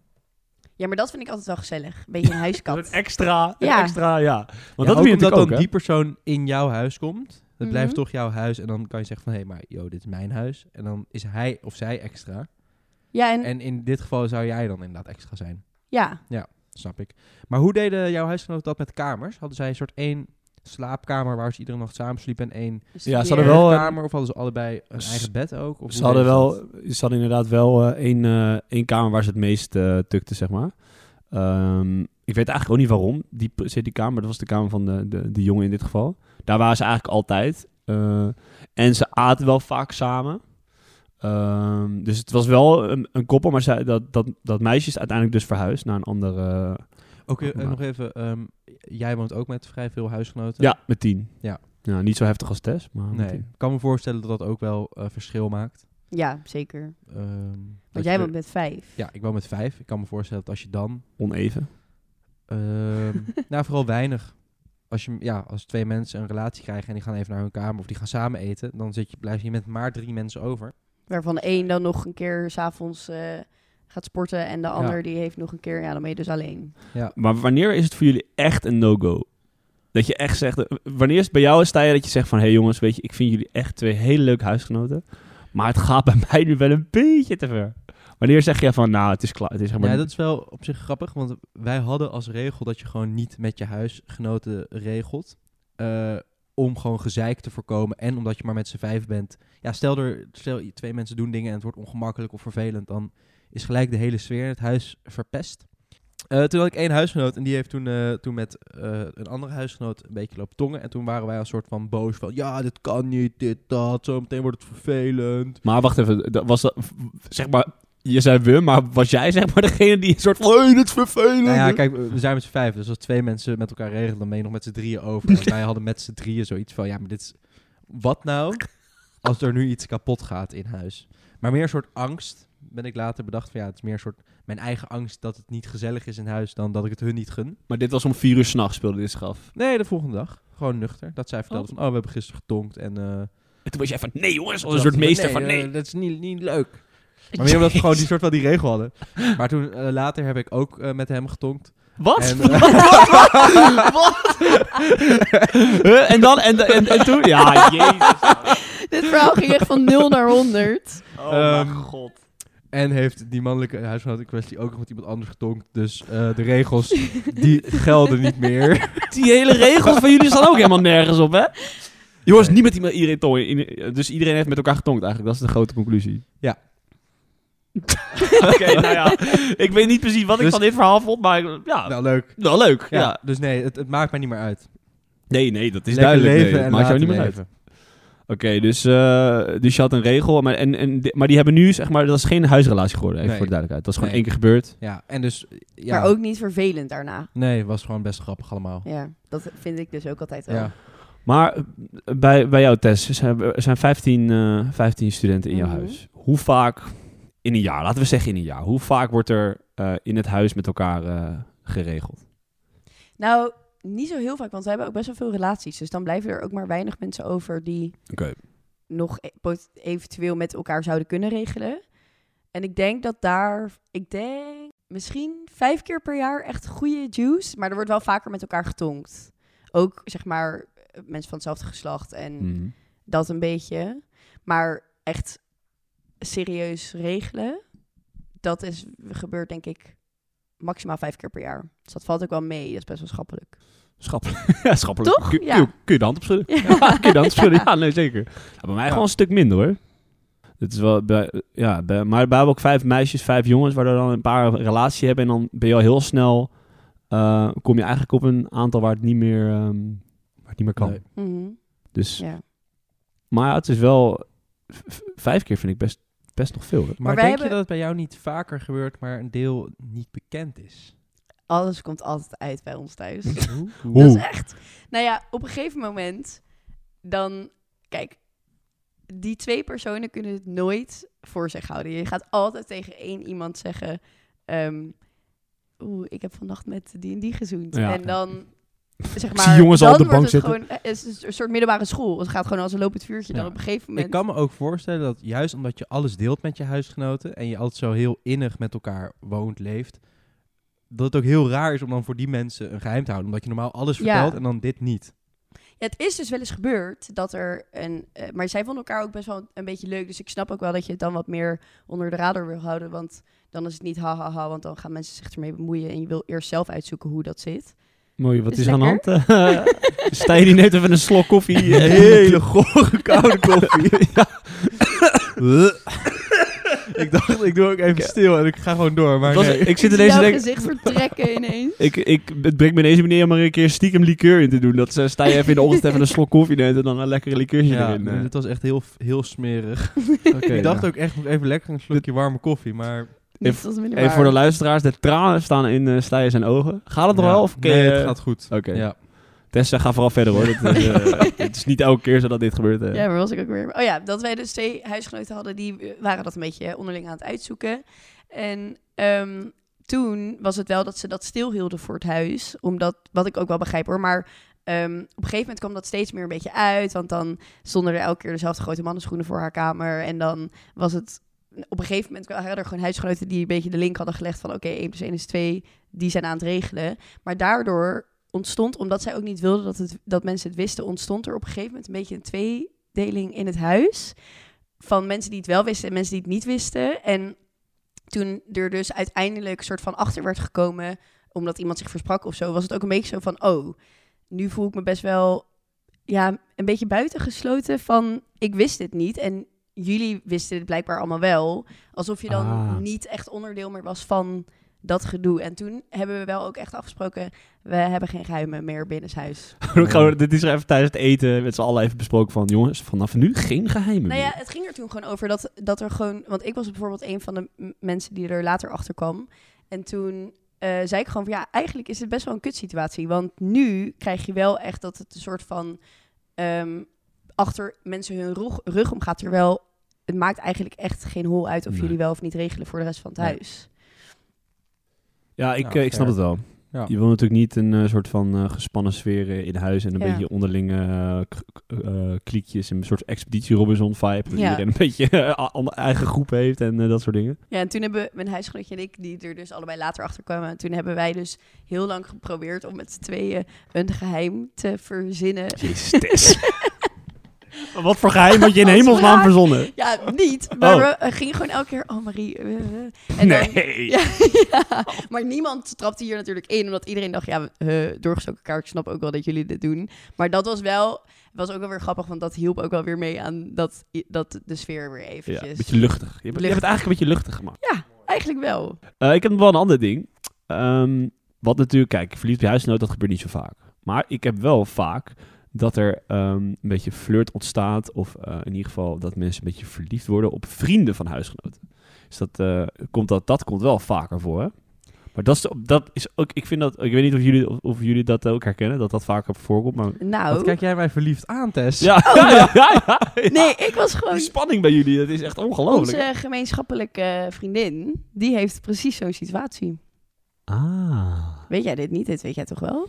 C: Ja, maar dat vind ik altijd wel gezellig. Beetje een
B: Een
C: huiskat.
B: extra, een
C: Ja.
B: extra, ja. Want dat
A: Ja,
B: heb
A: ook
B: je
A: omdat
B: natuurlijk
A: dan
B: ook, hè?
A: die persoon in jouw huis komt. Het blijft
C: Mhm.
A: toch jouw huis. En dan kan je zeggen van, hé, hey, maar yo, dit is mijn huis. En dan is hij of zij extra.
C: Ja, en,
A: En in dit geval zou jij dan inderdaad extra zijn.
C: ja,
A: Snap ik. Maar hoe deden jouw huisgenoten dat met kamers? Hadden zij een soort één slaapkamer waar ze iedere nacht samen sliepen en één
C: dus
B: Ja, ze
C: weer-
B: hadden wel- eh,
A: kamer? Of hadden ze allebei een
B: s-
A: eigen bed ook? Of
B: Ze
A: hoe
B: hadden,
A: deden
B: wel,
A: dat?
B: ze hadden inderdaad wel eh, één, eh, één kamer waar ze het meest eh tukten, zeg maar. Ehm, ik weet eigenlijk ook niet waarom. Die, p- zit die kamer, dat was de kamer van de, de, de jongen in dit geval. Daar waren ze eigenlijk altijd. Eh, en ze aten wel vaak samen. Ehm, dus het was wel een, een koppel, maar zij, dat, dat, dat meisje is uiteindelijk dus verhuisd naar een andere...
A: Oké,
B: Goed
A: en nog even. ehm, jij woont ook met vrij veel huisgenoten.
B: ja, met tien.
A: Ja.
B: Nou, niet zo heftig als Tess, maar met
A: Nee,
B: tien.
A: ik kan me voorstellen dat dat ook wel eh, verschil maakt.
C: Ja, zeker.
A: Ehm, dat
C: Want jij
A: je-
C: bent met vijf.
A: Ja, ik woon met vijf. Ik kan me voorstellen dat als je dan...
B: oneven.
A: ehm, nou, vooral weinig. Als, je, ja, als twee mensen een relatie krijgen en die gaan even naar hun kamer of die gaan samen eten, dan zit je, blijf je met maar drie mensen over.
C: Waarvan één dan nog een keer s'avonds eh gaat sporten. En de ander die heeft nog een keer, ja, dan ben je dus alleen.
B: Maar wanneer is het voor jullie echt een no-go? Dat je echt zegt, eh, wanneer is het bij jou is Thaya dat je zegt van... hé hey jongens, weet je, ik vind jullie echt twee hele leuke huisgenoten... maar het gaat bij mij nu wel een beetje te ver. Wanneer zeg je van, nou, het is klaar, het is zeg maar...
A: Ja, dat is wel op zich grappig, want wij hadden als regel dat je gewoon niet met je huisgenoten regelt. eh, om gewoon gezeik te voorkomen en omdat je maar met z'n vijf bent. Ja, stel er stel je- twee mensen doen dingen en het wordt ongemakkelijk of vervelend, dan is gelijk de hele sfeer in het huis verpest. Eh, toen had ik één huisgenoot en die heeft toen, eh, toen met eh, een andere huisgenoot een beetje lopen tongen. En toen waren wij als soort van boos van, ja, dit kan niet, dit, dat, zometeen wordt het vervelend.
B: Maar wacht even, dat was dat, zeg maar... Je zei we, maar was jij zeg maar degene die een soort van... Hey, dit is vervelend.
A: Nou ja, kijk, we zijn met z'n vijf. Dus als twee mensen met elkaar regelen, dan ben je nog met z'n drieën over. En wij hadden met z'n drieën zoiets van, ja, maar dit is... Wat nou als er nu iets kapot gaat in huis? Maar meer een soort angst, ben ik later bedacht van, ja, het is meer een soort... Mijn eigen angst dat het niet gezellig is in huis, dan dat ik het hun niet gun.
B: Maar dit was om vier uur s'nachts speelde dit zich af.
A: Nee, de volgende dag. Gewoon nuchter. Dat zij vertelde van, oh, we hebben gisteren getonkt en... eh,
B: En toen was jij van, nee jongens, als
A: toen
B: een soort
A: dacht ik,
B: meester van, nee.
A: eh, dat is niet, niet leuk. Maar meer omdat we gewoon die soort van die regel hadden. Maar toen eh, later heb ik ook eh, met hem getonkt.
B: Wat?
A: En,
B: Wat? Huh? en dan, en, en, en toen? Ja, jezus.
C: Dit verhaal ging echt van 0 naar 100.
B: Oh
A: Ehm,
B: mijn god.
A: En heeft die mannelijke huisgenoot in kwestie ook nog met iemand anders getonkt. Dus eh, de regels, die gelden niet meer.
B: Die hele regels van jullie staan ook helemaal nergens op, hè? Jongens, niet met iemand- iedereen tongen. in- Dus iedereen heeft met elkaar getonkt eigenlijk. Dat is de grote conclusie.
A: Ja.
B: Oké, nou ja. Ik weet niet precies wat ik
A: Dus-
B: van dit verhaal vond, maar ik- ja,
A: nou, leuk.
B: wel leuk. Ja.
A: Ja, Dus nee, het, het maakt mij niet meer uit. Het
B: Nee, nee, dat is duidelijk.
A: leven
B: nee,
A: en
B: dat maakt jou niet meer uit.
A: leven.
B: Oké, dus, eh, dus je had een regel, maar, en, en, di- maar die hebben nu, zeg maar, dat is geen huisrelatie geworden, even
A: Nee.
B: voor de duidelijkheid. Dat is
A: Nee.
B: gewoon één keer gebeurd.
A: Ja, en dus... Ja,
C: Maar ook niet vervelend daarna.
A: Nee, het was gewoon best grappig allemaal.
C: Ja, dat vind ik dus ook altijd wel.
A: Ja.
B: Maar eh, bij, bij jouw test zijn, er zijn 15, eh, 15 studenten in jouw
C: Mhm.
B: huis. Hoe vaak in een jaar, laten we zeggen in een jaar, hoe vaak wordt er eh, in het huis met elkaar eh, geregeld?
C: Nou, niet zo heel vaak, want we hebben ook best wel veel relaties. Dus dan blijven er ook maar weinig mensen over die
B: Oké.
C: nog e- pot- eventueel met elkaar zouden kunnen regelen. En ik denk dat daar, ik denk misschien vijf keer per jaar echt goede juice. Maar er wordt wel vaker met elkaar getonkt. Ook zeg maar eh, mensen van hetzelfde geslacht en
A: Hm.
B: Mhm.
C: dat een beetje. Maar echt serieus regelen, dat is, gebeurt denk ik maximaal vijf keer per jaar. Dus dat valt ook wel mee, dat is best wel schappelijk.
B: Schappelijk. ja, schappelijk.
C: Toch?
B: Kun, kun-
C: Ja.
B: kun je de hand opschudden? Kun je de hand opschudden? Ja, nee, zeker. Ja, bij mij gewoon een stuk minder hoor. Het is wel, bij, ja, bij, maar bij hebben ook vijf meisjes, vijf jongens, waardoor dan een paar een relatie hebben. En dan ben je al heel snel, eh, kom je eigenlijk op een aantal waar het niet meer, ehm, waar het niet meer kan.
A: Nee.
C: Mhm,
B: Dus
C: ja.
B: Maar ja, het is wel... v- v- Vijf keer vind ik best, best nog veel. Hè?
A: Maar, denk
C: wij
A: je
C: hebben-
A: dat het bij jou niet vaker gebeurt, maar een deel niet bekend is?
C: Alles komt altijd uit bij ons thuis.
B: Hoe?
C: Dat is echt... Nou ja, op een gegeven moment dan... Kijk, die twee personen kunnen het nooit voor zich houden. Je gaat altijd tegen één iemand zeggen... ehm, Oeh, ik heb vannacht met die en die gezoend.
B: Ja.
C: En dan... Zeg
B: Ik
C: maar,
B: zie jongens al
C: dan
B: op de
C: wordt
B: bank
C: het Gewoon, eh, het is een soort middelbare school. Het gaat gewoon als een lopend vuurtje.
A: Ja.
C: Dan op een gegeven moment...
A: Ik kan me ook voorstellen dat juist omdat je alles deelt met je huisgenoten en je altijd zo heel innig met elkaar woont, leeft, dat het ook heel raar is om dan voor die mensen een geheim te houden. Omdat je normaal alles
C: Ja.
A: vertelt en dan dit niet.
C: Ja, het is dus wel eens gebeurd dat er een. eh, maar zij vonden elkaar ook best wel een beetje leuk. Dus ik snap ook wel dat je het dan wat meer onder de radar wil houden. Want dan is het niet ha ha ha. Want dan gaan mensen zich ermee bemoeien. En je wil eerst zelf uitzoeken hoe dat zit.
B: Mooi, wat
C: Is
B: is, er aan de hand? Eh, Stijn die neemt even een slok koffie. eh,
A: Een hele gore koude koffie. ik dacht, ik doe ook even stil en ik ga gewoon door. Maar
B: Het was-
A: nee.
B: Ik zit
C: zie
B: ineens te
C: Dus jouw
B: denken...
C: gezicht vertrekken ineens.
B: Ik, ik, het brengt me ineens meneer om er een keer stiekem liqueur in te doen. Dat ze, sta je even in de ochtend even een slok koffie neemt en dan een lekkere liqueurtje
A: Ja,
B: erin. eh.
A: het was echt heel, heel smerig.
B: Oké,
A: ik dacht
B: ja.
A: ook echt nog even lekker een slokje warme koffie, maar...
C: Dat
B: Even-
C: was minder
B: Even voor de
C: waar.
B: luisteraars, de tranen staan in eh Stijn zijn ogen. Gaat het nog
A: Ja.
B: wel? Of ken
A: nee,
B: je-
A: het gaat goed.
B: eh, Oké.
A: Ja.
B: Tessa, ga vooral verder hoor. Dat, eh, het is niet elke keer zo dat dit gebeurt. eh.
C: Ja, waar was ik ook weer? Oh ja, dat wij dus twee huisgenoten hadden, die eh, waren dat een beetje eh, onderling aan het uitzoeken. En ehm, toen was het wel dat ze dat stilhielden voor het huis, omdat, wat ik ook wel begrijp hoor, maar ehm, op een gegeven moment kwam dat steeds meer een beetje uit, want dan stonden er elke keer dezelfde grote mannenschoenen voor haar kamer en dan was het... Op een gegeven moment waren er gewoon huisgenoten die een beetje de link hadden gelegd van oké, 1 plus 1 is 2, die zijn aan het regelen. Maar daardoor ontstond, omdat zij ook niet wilden dat, het, dat mensen het wisten, ontstond er op een gegeven moment een beetje een twee, deling in het huis. Van mensen die het wel wisten en mensen die het niet wisten. En toen er dus uiteindelijk een soort van achter werd gekomen, omdat iemand zich versprak of zo, was het ook een beetje zo van, oh, nu voel ik me best wel ja, een beetje buitengesloten van, ik wist dit niet en jullie wisten dit blijkbaar allemaal wel. Alsof je dan
B: Ah.
C: niet echt onderdeel meer was van dat gedoe. En toen hebben we wel ook echt afgesproken, we hebben geen geheimen meer binnenshuis.
B: Ook gewoon, dit is er even tijdens het eten met z'n allen even besproken van... Jongens, vanaf nu geen geheimen
C: Nou
B: meer.
C: ja, het ging er toen gewoon over dat, dat er gewoon... Want ik was bijvoorbeeld een van de m- mensen die er later achter kwam. En toen eh, zei ik gewoon van... Ja, eigenlijk is het best wel een kutsituatie. Want nu krijg je wel echt dat het een soort van... ehm, achter mensen hun rug, rug om gaat. Terwijl het maakt eigenlijk echt geen hol uit... of
B: Nee.
C: jullie wel of niet regelen voor de rest van het
B: Nee.
C: huis.
B: Ja, ik,
A: Nou,
B: eh, ik snap
A: fair.
B: het wel.
A: Ja.
B: Je wil natuurlijk niet een eh, soort van eh, gespannen sfeer eh, in huis en een
C: Ja.
B: beetje onderlinge eh, k- k- eh, kliekjes en een soort expeditie Robinson vibe. Dat
C: Ja.
B: iedereen een beetje eh, a- een eigen groep heeft en eh, dat soort dingen.
C: Ja, en toen hebben mijn huisgenootje en ik, die er dus allebei later achter kwamen, toen hebben wij dus heel lang geprobeerd om met z'n tweeën een geheim te verzinnen.
B: Jezus, Tess. Wat voor geheim had je in hemelsnaam
C: Als
B: verzonnen?
C: Ja, niet. Maar
B: Oh.
C: we gingen gewoon elke keer, oh Marie. eh, eh. En Dan,
B: Nee.
C: ja, ja. maar niemand trapte hier natuurlijk in, omdat iedereen dacht, ja, eh, doorgestoken kaart, ik snap ook wel dat jullie dit doen. Maar dat was wel, was ook wel weer grappig, want dat hielp ook wel weer mee aan dat, dat de sfeer weer
B: Ja, een
C: eventjes.
B: beetje luchtig. Je hebt, je hebt het
C: Luchtig.
B: eigenlijk een beetje luchtig gemaakt.
C: Eigenlijk wel.
B: Eh, ik heb nog wel een ander ding. Ehm, wat natuurlijk, kijk, verliefd bij huisgenoot, dat gebeurt niet zo vaak. Maar ik heb wel vaak dat er ehm, een beetje flirt ontstaat. Of eh, in ieder geval dat mensen een beetje verliefd worden op vrienden van huisgenoten. Dus dat, eh, komt, dat, dat komt wel vaker voor. hè? Maar dat is, dat is ook, ik vind dat, ik weet niet of jullie, of, of jullie dat ook herkennen, dat dat vaker voorkomt. Maar...
A: Wat
C: Nou,
A: kijk jij mij verliefd aan, Tess?
B: Ja, ja, ja, ja, ja.
C: Oh, nee, ik was gewoon...
B: Die spanning bij jullie, dat is echt ongelooflijk.
C: Onze gemeenschappelijke eh, vriendin, die heeft precies zo'n situatie.
B: Ah.
C: Weet jij dit niet? Dit weet jij toch wel?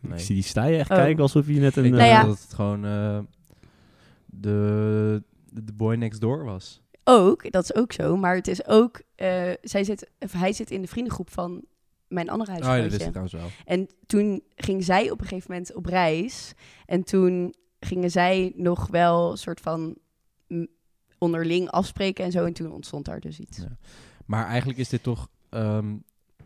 A: Nee.
B: Ik zie die stijgen echt
C: Oh.
B: kijken alsof je net een...
A: Ik
B: eh,
C: Nou
A: dacht
C: ja.
A: dat het gewoon eh, de, de boy next door was.
C: Ook, dat is ook zo. Maar het is ook, eh, zij zit, of hij zit in de vriendengroep van mijn andere
A: Oh ja, dat
C: huisgenootje.
B: dus-
A: wist ik trouwens wel.
C: En toen ging zij op een gegeven moment op reis. En toen gingen zij nog wel een soort van mm, onderling afspreken en zo. En toen ontstond daar dus iets.
A: Ja. Maar eigenlijk is dit toch ehm,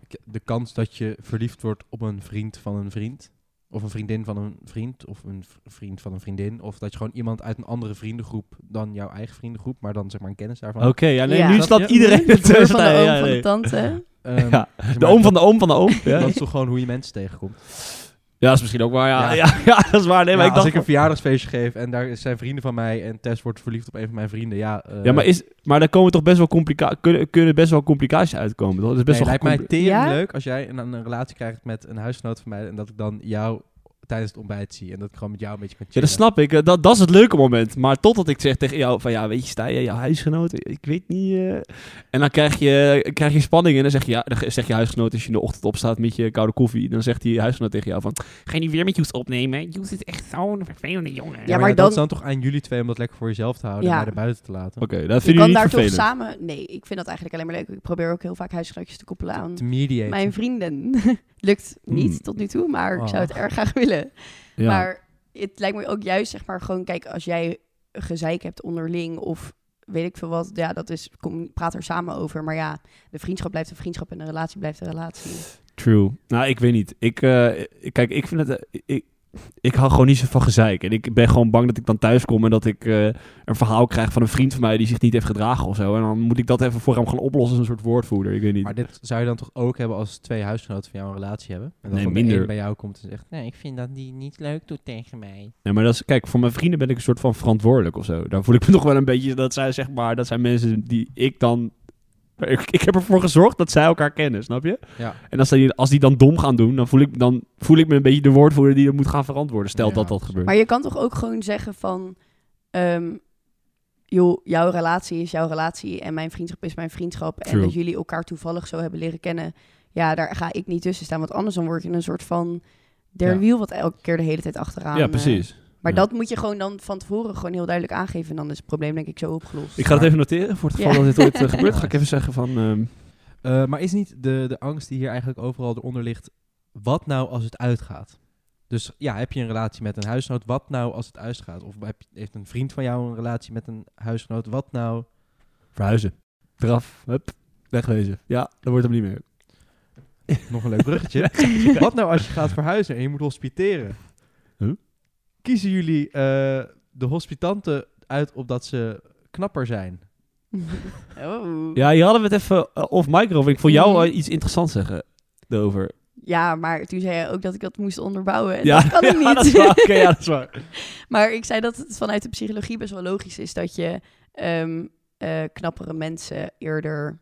A: k- de kans dat je verliefd wordt op een vriend van een vriend. Of een vriendin van een vriend. Of een v- vriend van een vriendin. Of dat je gewoon iemand uit een andere vriendengroep dan jouw eigen vriendengroep. Maar dan zeg maar een kennis daarvan.
B: Oké, ja, nee,
C: Ja.
B: nu
A: Dat-
B: staat
A: ja.
B: iedereen
C: De broer
B: ertussen.
C: van de
B: Nee,
C: oom,
B: ja,
C: van de
B: nee.
C: tante.
A: Ehm,
B: Ja,
A: zeg maar,
B: De oom van de oom van de oom. Ja,
A: Dat is toch gewoon hoe je mensen tegenkomt.
B: ja dat is misschien ook waar. Ja, ja.
A: Ja.
B: ja, dat is waar. Nee, maar
A: Ja, als
B: ik dacht...
A: ik een verjaardagsfeestje geef en daar zijn vrienden van mij en Tess wordt verliefd op een van mijn vrienden. Ja, eh,
B: Ja, maar, is, maar daar komen toch best wel complica kunnen, kunnen best wel complicaties uitkomen. toch? Dat is best
A: nee,
B: wel
A: lijkt mij
B: gecompli-
A: tering
C: Ja?
A: leuk als jij een, een relatie krijgt met een huisgenoot van mij en dat ik dan jou tijdens het ontbijt zie. En dat ik gewoon met jou een beetje kan
B: Ja,
A: chillen.
B: dat snap ik. Eh, Dat, dat is het leuke moment. Maar totdat ik zeg tegen jou van ja, weet je, sta je jouw huisgenoot? Ik weet niet. eh. En dan krijg je, krijg je spanning en dan zeg je, ja, dan zeg je huisgenoot als je in de ochtend opstaat met je koude koffie. Dan zegt die huisgenoot tegen jou van
D: Ga je nu weer met Joes opnemen? Joes is echt zo'n vervelende jongen.
C: Ja, maar
A: dat
C: dan-
A: is dan toch aan jullie twee om dat lekker voor jezelf te houden
C: Ja.
A: en mij er buiten te laten.
B: oké, dat
C: Je
B: vind je
C: kan
B: niet
C: daar
B: vervelend.
C: toch samen... Nee, ik vind dat eigenlijk alleen maar leuk. Ik probeer ook heel vaak huisgenootjes te koppelen aan
A: Te mediaten.
C: mijn vrienden. Lukt niet
B: Hmm.
C: tot nu toe, maar ik zou het
A: Oh.
C: erg graag willen.
B: ja.
C: Maar het lijkt me ook juist, zeg maar, gewoon kijk, als jij gezeik hebt onderling of weet ik veel wat, ja, dat is, kom, praat er samen over. Maar ja, de vriendschap blijft een vriendschap en de relatie blijft een relatie.
B: True. Nou, ik weet niet. Ik, eh, kijk, ik vind het. eh, ik, ik hou gewoon niet zo van gezeik. En ik ben gewoon bang dat ik dan thuis kom en dat ik eh, een verhaal krijg van een vriend van mij die zich niet heeft gedragen of zo. En dan moet ik dat even voor hem gaan oplossen als een soort woordvoerder. Ik weet niet.
A: Maar dit zou je dan toch ook hebben als twee huisgenoten van jou een relatie hebben? En dan
B: Nee,
A: van de een
B: minder.
A: bij jou komt en zegt...
D: Nee, ik vind dat die niet leuk doet tegen mij.
B: Nee, maar dat is, kijk, voor mijn vrienden ben ik een soort van verantwoordelijk of zo. Daar voel ik me nog wel een beetje dat zij, zeg maar, dat zijn mensen die ik dan. Ik, ik heb ervoor gezorgd dat zij elkaar kennen, snap je?
A: Ja.
B: En als die, als die dan dom gaan doen, dan voel, ik, dan voel ik me een beetje de woordvoerder die dat moet gaan verantwoorden. Stel
A: Ja,
B: dat dat
A: precies.
B: gebeurt.
C: Maar je kan toch ook gewoon zeggen van, ehm, joh, jouw relatie is jouw relatie en mijn vriendschap is mijn vriendschap. En
B: True.
C: dat jullie elkaar toevallig zo hebben leren kennen, ja, daar ga ik niet tussen staan. Want anders dan word je een soort van der
A: Ja.
C: wiel wat elke keer de hele tijd achteraan.
B: ja,
C: eh,
B: precies.
C: Maar
B: Ja.
C: dat moet je gewoon dan van tevoren gewoon heel duidelijk aangeven. En dan is het probleem denk ik zo opgelost.
B: Ik ga het even noteren voor het geval
C: Ja.
B: dat dit ooit eh, gebeurt.
A: Ja.
B: Ga ik even zeggen van. ehm,
A: Eh, maar is niet de, de angst die hier eigenlijk overal eronder ligt... Wat nou als het uitgaat? Dus ja, heb je een relatie met een huisgenoot? Wat nou als het uitgaat? Of heb, je- heeft een vriend van jou een relatie met een huisgenoot? Wat nou?
B: verhuizen. Eraf. Hup. Wegwezen. Ja, dat wordt hem niet meer.
A: Nog een leuk bruggetje. Wat nou als je gaat verhuizen en je moet hospiteren?
B: Huh?
A: Kiezen jullie eh, de hospitanten uit op dat ze knapper zijn?
C: Oh. Ja.
B: Ja, hier hadden we het even of off micro. Ik voor
C: Mm.
B: jou eh, iets interessants zeggen. Over.
C: maar toen zei je ook dat ik dat moest onderbouwen. En
B: ja,
C: dat kan ik
B: ja, dat is
C: niet.
B: waar. Oké, ja, dat is waar.
C: maar ik zei dat het vanuit de psychologie best wel logisch is dat je ehm, eh, knappere mensen eerder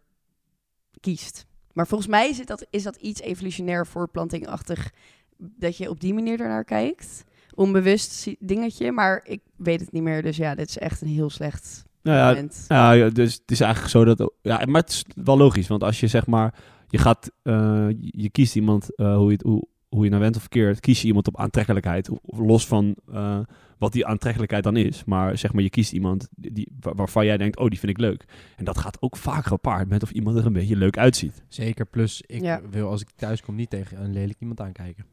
C: kiest. Maar volgens mij is, het dat, is dat iets evolutionair voorplantingachtig. Dat je op die manier ernaar kijkt. Onbewust zie- dingetje, maar ik weet het niet meer. Dus ja, dit is echt een heel slecht
B: Nou ja,
C: moment.
B: Ja, ja, dus het is eigenlijk zo dat... Ja, maar het is wel logisch, want als je zeg maar... Je gaat... eh, je kiest iemand, eh, hoe, je het, hoe, hoe je naar went of verkeerd, kies je iemand op aantrekkelijkheid. ho- Los van eh, wat die aantrekkelijkheid dan is. Maar zeg maar, je kiest iemand die, die- wa- waarvan jij denkt, oh, die vind ik leuk. En dat gaat ook vaak gepaard met of iemand er een beetje leuk uitziet.
A: Zeker, plus ik
C: Ja.
A: wil als ik thuis kom niet tegen een lelijk iemand aankijken.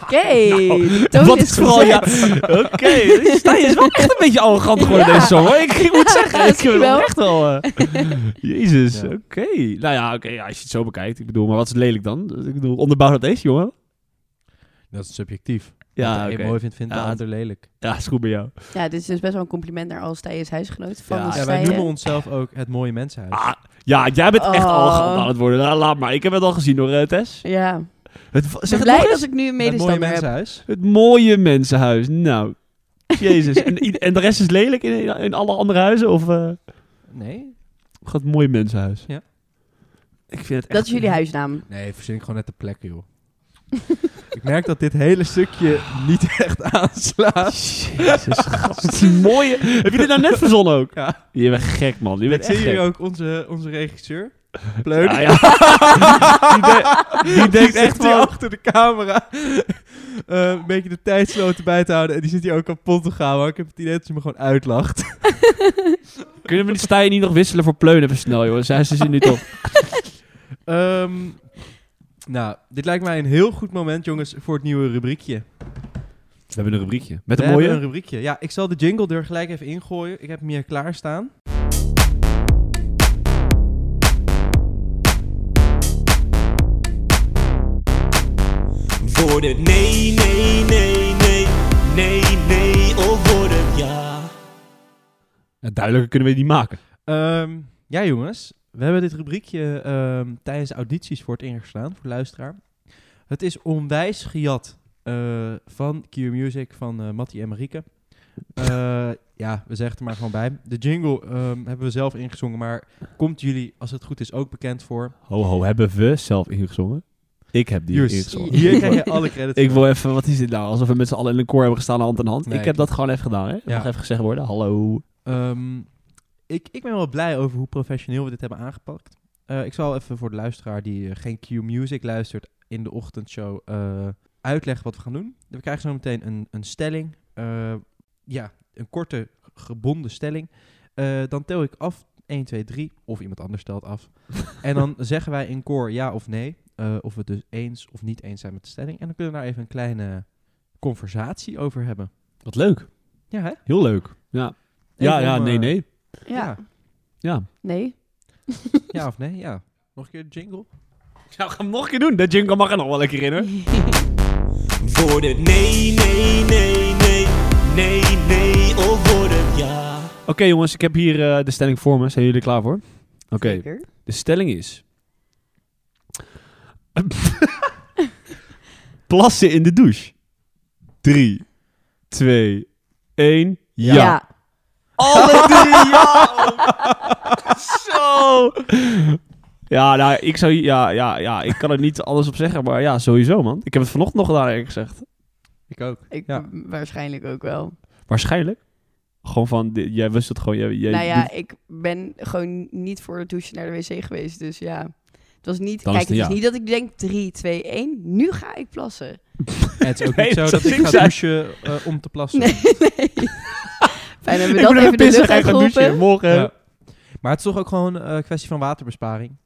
C: Oké, die toon
B: Nou, wat
C: is
B: is vooral... Ja, Oké, dus Stijn is wel echt een beetje arrogant geworden
C: Ja.
B: deze zomer. Ik, ik moet zeggen, ik
C: Misschien
B: vind hem
C: wel.
B: echt wel... eh, Jezus,
A: Ja.
B: oké. Nou ja, oké, ja, als je het zo bekijkt. Ik bedoel, maar wat is lelijk dan? Ik bedoel, onderbouw dat eens, jongen.
A: Dat is subjectief. Wat de
B: Ja,
A: een
B: oké.
A: mooi vindt, vindt de
B: Ja,
A: ander lelijk.
B: Ja, is goed bij jou.
C: Ja, dit is dus best wel een compliment naar al Stijen's huisgenoot. Van
B: Ja.
C: de
A: Ja, wij
C: Stijen.
A: noemen onszelf ook het mooie mensenhuis.
B: Ah, ja, jij bent echt
C: Oh.
B: al aan het worden. Nou, laat maar. Ik heb het al gezien hoor, eh, Tess.
C: Ja, ik
B: Het, zeg
C: ben
B: het
C: blij
B: nog eens.
C: dat ik nu een
A: het mooie
C: medestander heb.
A: mensenhuis.
B: Het mooie mensenhuis. Nou, jezus. en, i- en de rest is lelijk in, in alle andere huizen? Of eh
A: Nee?
B: gaat het mooie mensenhuis?
A: Ja.
B: Ik vind het echt...
C: Dat is jullie huisnaam.
A: Nee, verzin ik gewoon net de plek, joh. ik merk dat dit hele stukje niet echt aanslaat.
B: Jezus, gast. mooie... Heb je dit nou net verzonnen ook?
A: Ja.
B: Je bent gek, man. Je
A: Ik
B: bent
A: zie
B: echt gek.
A: hier ook onze, onze regisseur. Pleun.
B: Ja, ja. die, de- die denkt
A: zit
B: echt
A: hier
B: van...
A: achter de camera eh, een beetje de tijdsloten bij te houden. En die zit hier ook kapot te gaan. Maar ik heb het idee dat ze me gewoon uitlacht.
B: Kunnen we die Stijn niet nog wisselen voor Pleun even snel, joh? Zij ze zit nu toch...
A: Ehm, nou, dit lijkt mij een heel goed moment, jongens, voor het nieuwe rubriekje.
B: We hebben een rubriekje. Met
A: We
B: een mooie...
A: hebben een rubriekje. Ja, ik zal de jingle er gelijk even ingooien. Ik heb hem hier klaarstaan.
E: Wordt het nee, nee, nee, nee, nee, nee, of wordt het ja?
B: Ja, duidelijker kunnen we die niet maken.
A: Ehm, ja, jongens. We hebben dit rubriekje ehm, tijdens de audities voor het ingeslaan, voor de luisteraar. Het is onwijs gejat eh, van Q Music, van eh Mattie en Marieke. Eh, ja, we zeggen het er maar gewoon bij. De jingle ehm, hebben we zelf ingezongen, maar komt jullie, als het goed is, ook bekend voor.
B: Ho, ho, hebben we zelf ingezongen? Ik heb die
A: Jus,
B: ingezonden.
A: hier krijg je alle credit
B: Ik wil even, wat is dit nou? Alsof we met z'n allen in een koor hebben gestaan, hand in hand.
A: Nee.
B: Ik heb dat gewoon even gedaan, hè? Dat
A: Ja.
B: mag even gezegd worden. Hallo.
A: Ehm, ik, ik ben wel blij over hoe professioneel we dit hebben aangepakt. Eh, ik zal even voor de luisteraar die eh, geen Q-music luistert in de ochtendshow eh, uitleggen wat we gaan doen. We krijgen zo meteen een, een stelling. Eh, ja, een korte gebonden stelling. Eh, dan tel ik af 1, 2, 3 of iemand anders telt af. en dan zeggen wij in koor ja of nee. eh, of we het dus eens of niet eens zijn met de stelling. En dan kunnen we daar even een kleine conversatie over hebben.
B: Wat leuk.
A: Ja, hè?
B: Heel leuk. Ja, ja,
A: Even
B: ja
A: om,
B: nee,
A: eh,
B: nee.
C: Ja,
B: Ja.
C: nee.
A: Ja of nee? Ja. Nog een keer de jingle?
B: Nou, ga hem nog een keer doen. Dat jingle mag er nog wel lekker in, hè?
E: Voor de nee, nee, nee, nee, nee, nee of voor het ja.
B: Oké, jongens. Ik heb hier eh, de stelling voor me. Zijn jullie er klaar voor? Oké.
C: Zeker.
B: De stelling is... Plassen in de douche. 3, 2, 1. Ja. Alle drie, ja! Zo! Ja, nou, ik zou... Ja, ja, ja, ik kan er niet alles op zeggen, maar ja, sowieso, man. Ik heb het vanochtend nog gedaan, eerlijk gezegd.
A: Ik ook.
C: ik,
A: Ja.
C: waarschijnlijk ook wel.
B: Waarschijnlijk. Gewoon van, di- jij wist het gewoon. Jij, jij,
C: nou ja, ik ben gewoon niet voor de douche naar de wc geweest, dus ja. Het was niet,
B: Dan is het
C: kijk, het
B: een
C: is
B: ja.
C: niet dat ik denk 3, 2, 1, nu ga ik plassen.
A: En het is ook
B: Nee,
A: niet zo
B: dat
A: dat ik
B: zou
A: ga
B: zijn.
A: douchen eh, om te plassen.
C: Nee, nee. Fijn hebben we
B: ik
C: dat
B: ben even
C: even de
B: pissig,
C: lucht
B: ga ik gaan douchen.
C: uitgeroepen.
B: Morgen.
A: Ja. Maar het is toch ook gewoon eh, een kwestie van waterbesparing.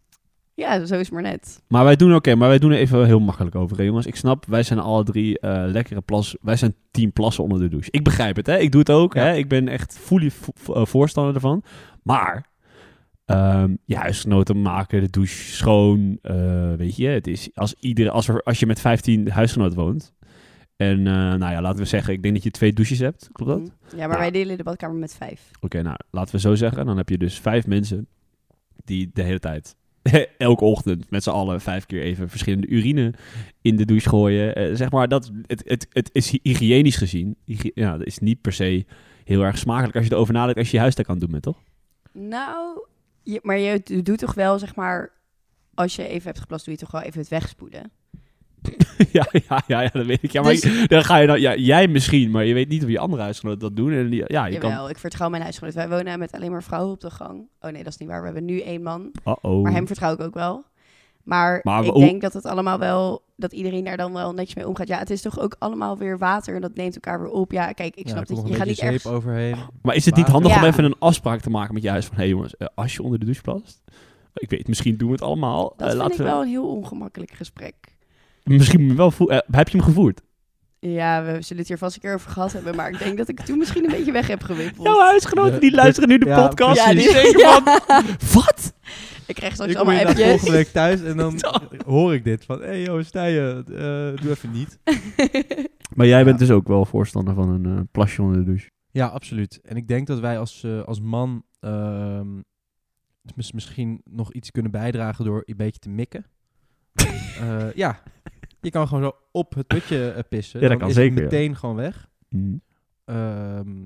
C: Ja, zo is het maar net.
B: Maar wij doen oké, maar wij doen er even heel makkelijk over, hè, jongens. Ik snap, wij zijn alle drie eh, lekkere plas. Wij zijn team plassen onder de douche. Ik begrijp het, hè. Ik doe het ook,
A: Ja.
B: hè. Ik ben echt fully vo- vo- eh, voorstander ervan. Maar, ehm ja, huisgenoten maken de douche schoon. eh, weet je, het is als, iedere, als, er, als je met 15 huisgenoten woont. En, eh, nou ja, laten we zeggen, ik denk dat je twee douches hebt. Klopt dat? Nou.
C: Ja, maar
B: Ja.
C: wij delen de badkamer met vijf.
B: Oké, nou, laten we zo zeggen. Dan heb je dus vijf mensen die de hele tijd, elke ochtend, met z'n allen vijf keer even verschillende urine in de douche gooien. Eh, zeg maar, dat, het, het, het is hy- hygiënisch gezien. hygi- ja, dat is niet per se heel erg smakelijk als je erover nadenkt als je je huiswerk aan het doen bent, toch?
C: Nou, je- maar je d- doet toch wel, zeg maar, als je even hebt geplast, doe je toch wel even het wegspoelen.
B: ja, ja, ja, ja, dat weet ik. Ja, maar
C: Dus-
B: je- dan ga je dan, ja, jij misschien, maar je weet niet of je andere huisgenoten dat doen. En die, ja, je
C: Jawel,
B: kan...
C: ik vertrouw mijn huisgenoten. Wij wonen met alleen maar vrouwen op de gang. Oh nee, dat is niet waar. We hebben nu één man,
B: Uh-oh.
C: maar hem vertrouw ik ook wel. Maar,
B: Maar
C: ik
B: hoe-
C: denk dat het allemaal wel, dat iedereen daar dan wel netjes mee omgaat. Ja, het is toch ook allemaal weer water en dat neemt elkaar weer op. Ja, kijk, ik
A: Ja,
C: snap
A: er komt
C: dat
A: nog
C: je
A: een
C: gaat
A: beetje
C: niet
A: zeep
C: ergens...
A: overheen.
B: Maar is het niet
A: Water.
B: handig om
C: Ja.
B: even een afspraak te maken met je huis van... hé hey jongens, eh, als je onder de douche plast... Ik weet, misschien doen we het allemaal. Eh,
C: Dat vind
B: laten
C: ik
B: we-
C: wel een heel ongemakkelijk gesprek.
B: Misschien wel... voe- eh, heb je hem gevoerd?
C: Ja, we zullen het hier vast een keer over gehad hebben, maar ik denk dat ik het toen misschien een beetje weg heb gewippeld.
B: Jouw huisgenoten, die
A: De-
B: luisteren nu de
A: ja,
B: podcast.
A: precies.
B: en die denken van... Wat?
C: Ik krijg straks
A: Ik kom inderdaad
C: allemaal appjes.
A: volgende week thuis en dan hoor ik dit. Van, hé hey, joh, Stijnen, eh, doe even niet.
B: Maar jij bent
A: Ja.
B: dus ook wel voorstander van een eh, plasje onder de douche.
A: Ja, absoluut. En ik denk dat wij als, eh, als man ehm, mis- misschien nog iets kunnen bijdragen door een beetje te mikken. Eh, ja, je kan gewoon zo op het putje eh, pissen.
B: Ja,
A: Dan
B: dat kan
A: is het
B: zeker, ja.
A: meteen gewoon weg.
B: Mm.
A: Ehm,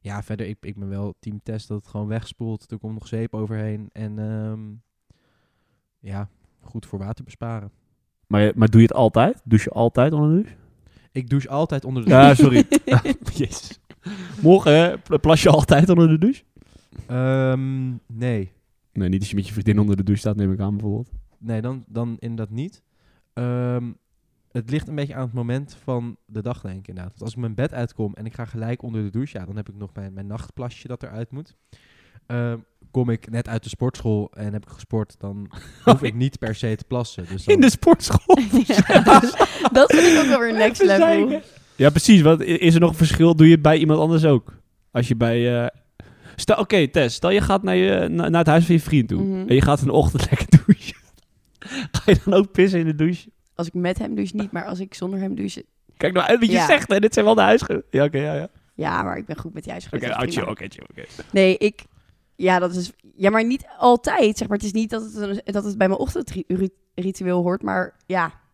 A: ja, verder, ik, ik ben wel team test dat het gewoon wegspoelt. Er komt nog zeep overheen. En ehm, ja, goed voor water besparen.
B: Maar, je- maar doe je het altijd? Douche je altijd onder de douche?
A: Ik douche altijd onder de
B: Ja,
A: douche.
B: sorry. Jezus. Morgen eh, pl- plas je altijd onder de douche?
A: Ehm, nee,
B: Nee, niet als je met je vriendin onder de douche staat, neem ik aan bijvoorbeeld.
A: nee dan, dan inderdaad niet. Ehm, het ligt een beetje aan het moment van de dag, denk ik inderdaad. Want als ik mijn bed uitkom en ik ga gelijk onder de douche, ja, dan heb ik nog mijn, mijn nachtplasje dat eruit moet. Ehm, kom ik net uit de sportschool en heb ik gesport, dan hoef ik niet per se te plassen. Dus dan,
B: In de sportschool.
C: Ja, dus dat vind ik ook wel weer next
B: Even
C: level.
B: zeiken. Ja, precies. Want i- is er nog een verschil? Doe je het bij iemand anders ook? Als je bij... eh, stel, Oké, Tess. Stel je gaat naar, je, na- naar het huis van je vriend toe.
C: Mhm.
B: En je gaat een ochtend lekker douchen. Ga je dan ook pissen in de douche?
C: Als ik met hem douche niet, maar als ik zonder hem douche...
B: Kijk nou uit wat je
C: Ja.
B: zegt. Hè? Dit zijn wel de huisgenoten. Ja, oké, ja, ja.
C: Ja, maar ik ben goed met die huisgenoten.
B: Oké,
C: dat is
B: oh, chill,
C: prima.
B: oké, chill, oké.
C: Nee, ik... Ja, dat is... Ja, maar niet altijd, zeg maar. Het is niet dat het, een- dat het bij mijn ochtendritueel hoort, maar ja...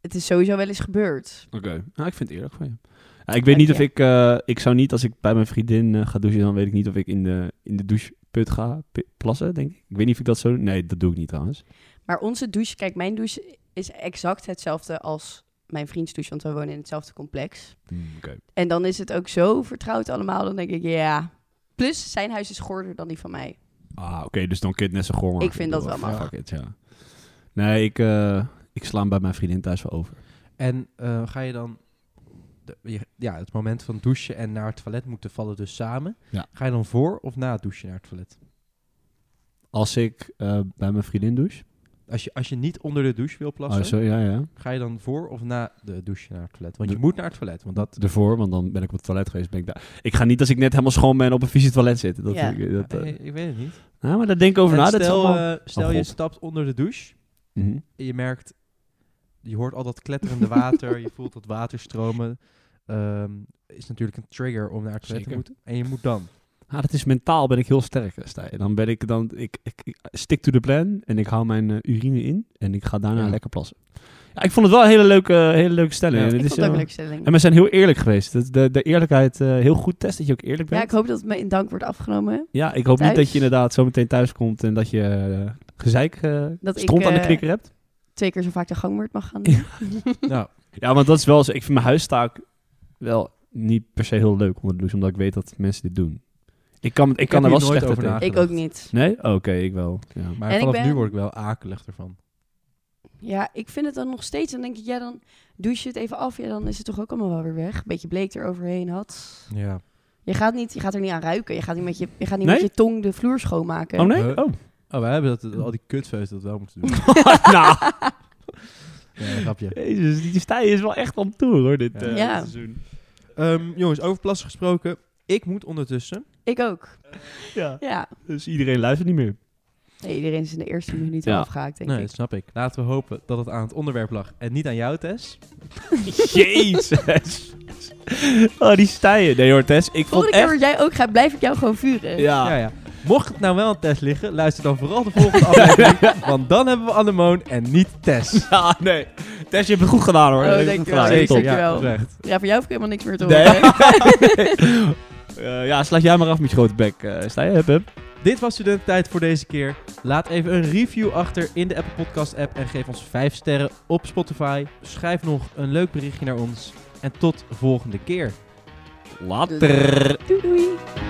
C: Het is sowieso wel eens gebeurd.
B: Oké. Nou, ik vind het eerlijk van je. Ja, ik weet
C: Dank
B: niet
C: je.
B: of ik... eh, ik zou niet, als ik bij mijn vriendin eh, ga douchen... dan weet ik niet of ik in de, in de doucheput ga pi- plassen, denk ik. Ik weet niet of ik dat zo... Nee, dat doe ik niet trouwens.
C: Maar onze douche, kijk, mijn douche is exact hetzelfde als mijn vriends douche, want we wonen in hetzelfde complex. En dan is het ook zo vertrouwd allemaal, dan denk ik, ja. Plus, zijn huis is gorder dan die van mij.
B: Ah, oké, dus dan kun je het net zo gewoon
C: Ik vind dat wel
B: maar
C: mag.
B: Fuck it, ja. Nee, ik, eh, ik sla hem bij mijn vriendin thuis wel over.
A: En eh, ga je dan de- je- ja, het moment van douchen en naar het toilet moeten vallen dus samen.
B: Ja.
A: Ga je dan voor of na het douchen naar het toilet?
B: Als ik eh, bij mijn vriendin douche.
A: Als je, als je niet onder de douche wil plassen,
B: Oh, zo, ja, ja.
A: ga je dan voor of na de douche naar het toilet? Want je
B: De-
A: moet naar het toilet, want dat...
B: Ervoor, want dan ben ik op het toilet geweest. Ben ik, daar. ik ga niet als ik net helemaal schoon ben op een vieze toilet zitten. Dat,
C: Ja.
B: ik, dat, eh,
A: Nee, ik weet het niet.
B: nou, maar daar denk ik over
A: En
B: na. dat is
A: stel
B: allemaal-
A: eh, stel
B: Oh,
A: je
B: God.
A: stapt onder de douche
B: Mhm.
A: en je merkt... Je hoort al dat kletterende water, je voelt dat water stromen. Ehm, is natuurlijk een trigger om naar het toilet
B: Zeker.
A: te moeten. En je moet dan.
B: Ah, dat is mentaal ben ik heel sterk, eh, Stijn. Dan ben ik dan ik, ik, ik stick to the plan en ik hou mijn eh, urine in en ik ga daarna
A: Ja.
B: lekker plassen. Ja, ik vond het wel een hele leuke, eh, hele leuke stelling.
A: Ja.
B: En
A: Ik
B: dit
C: Ik
B: is,
C: vond het ook
B: eh,
C: een leuke stelling.
B: En we zijn heel eerlijk geweest. Dat De, de eerlijkheid eh, heel goed test dat je ook eerlijk bent.
C: Ja, ik hoop dat het me in dank wordt afgenomen.
B: Ja, ik hoop
C: Thuis?
B: niet dat je inderdaad zo meteen thuis komt en dat je eh, gezeik eh
C: Dat ik,
B: stront aan de
C: eh,
B: knikker hebt.
C: Twee keer zo vaak de gangwoord mag gaan doen.
A: Nou,
B: Ja, want dat is wel zo. Ik vind mijn huistaak wel niet per se heel leuk onder de douche, omdat ik weet dat mensen dit doen. Ik kan, ik kan
A: heb
B: er wel
A: hier nooit
B: slecht
A: over
B: tegen.
A: nagedacht.
C: ik ook niet.
B: Nee? Oké, ik wel. Ja.
A: maar
C: En ik
A: vanaf nu
C: ben-
A: word ik wel akelig ervan.
C: Ja, ik vind het dan nog steeds. Dan denk ik, ja, dan douche je het even af. Ja, dan is het toch ook allemaal wel weer weg. Beetje bleek eroverheen had.
A: Ja.
C: Je gaat, niet, je gaat er niet aan ruiken. Je gaat niet met je, je, gaat niet
B: Nee?
C: met je tong de vloer schoonmaken.
B: Oh nee?
A: Eh,
B: Oh.
A: Oh, wij hebben dat, al die kutveuzen dat wel moeten doen.
B: nou,
A: ja, grapje.
B: jezus, die stijl is wel echt om toer hoor, dit
A: Ja.
B: eh,
C: Ja.
B: seizoen.
A: Ehm, jongens, over plassen gesproken. Ik moet ondertussen.
C: Ik ook.
B: Ja.
C: Ja.
B: Dus iedereen luistert niet meer.
C: Nee, iedereen is in de eerste minuut
B: Ja.
C: al afgehaakt, denk
A: Nee,
C: ik.
A: dat snap ik. Laten we hopen dat het aan het onderwerp lag en niet aan jou, Tess.
B: Jezus. Oh, die stijl. Nee hoor, Tess, ik vond
C: Volgende keer
B: echt...
C: word jij ook gaat, blijf ik jou gewoon vuren.
A: Ja, ja. Mocht het nou wel aan Tess liggen, luister dan vooral de volgende aflevering. Want dan hebben we Anemoon en niet Tess.
B: Ja, nee. Tess, je hebt het goed gedaan hoor.
C: Oh,
B: Je hebt het
C: dankjewel.
B: goed gedaan.
C: Zeker,
B: Top.
C: dankjewel.
A: oprecht.
C: Ja, voor jou hoef ik helemaal niks meer te
B: Nee.
C: horen.
B: Eh, ja, slaat jij maar af met je grote bek, eh Stijn. Hup, hup.
A: Dit was Studententijd voor deze keer. Laat even een review achter in de Apple Podcast app en geef ons 5 sterren op Spotify. Schrijf nog een leuk berichtje naar ons. En tot volgende keer.
B: Later.
C: Doei doei.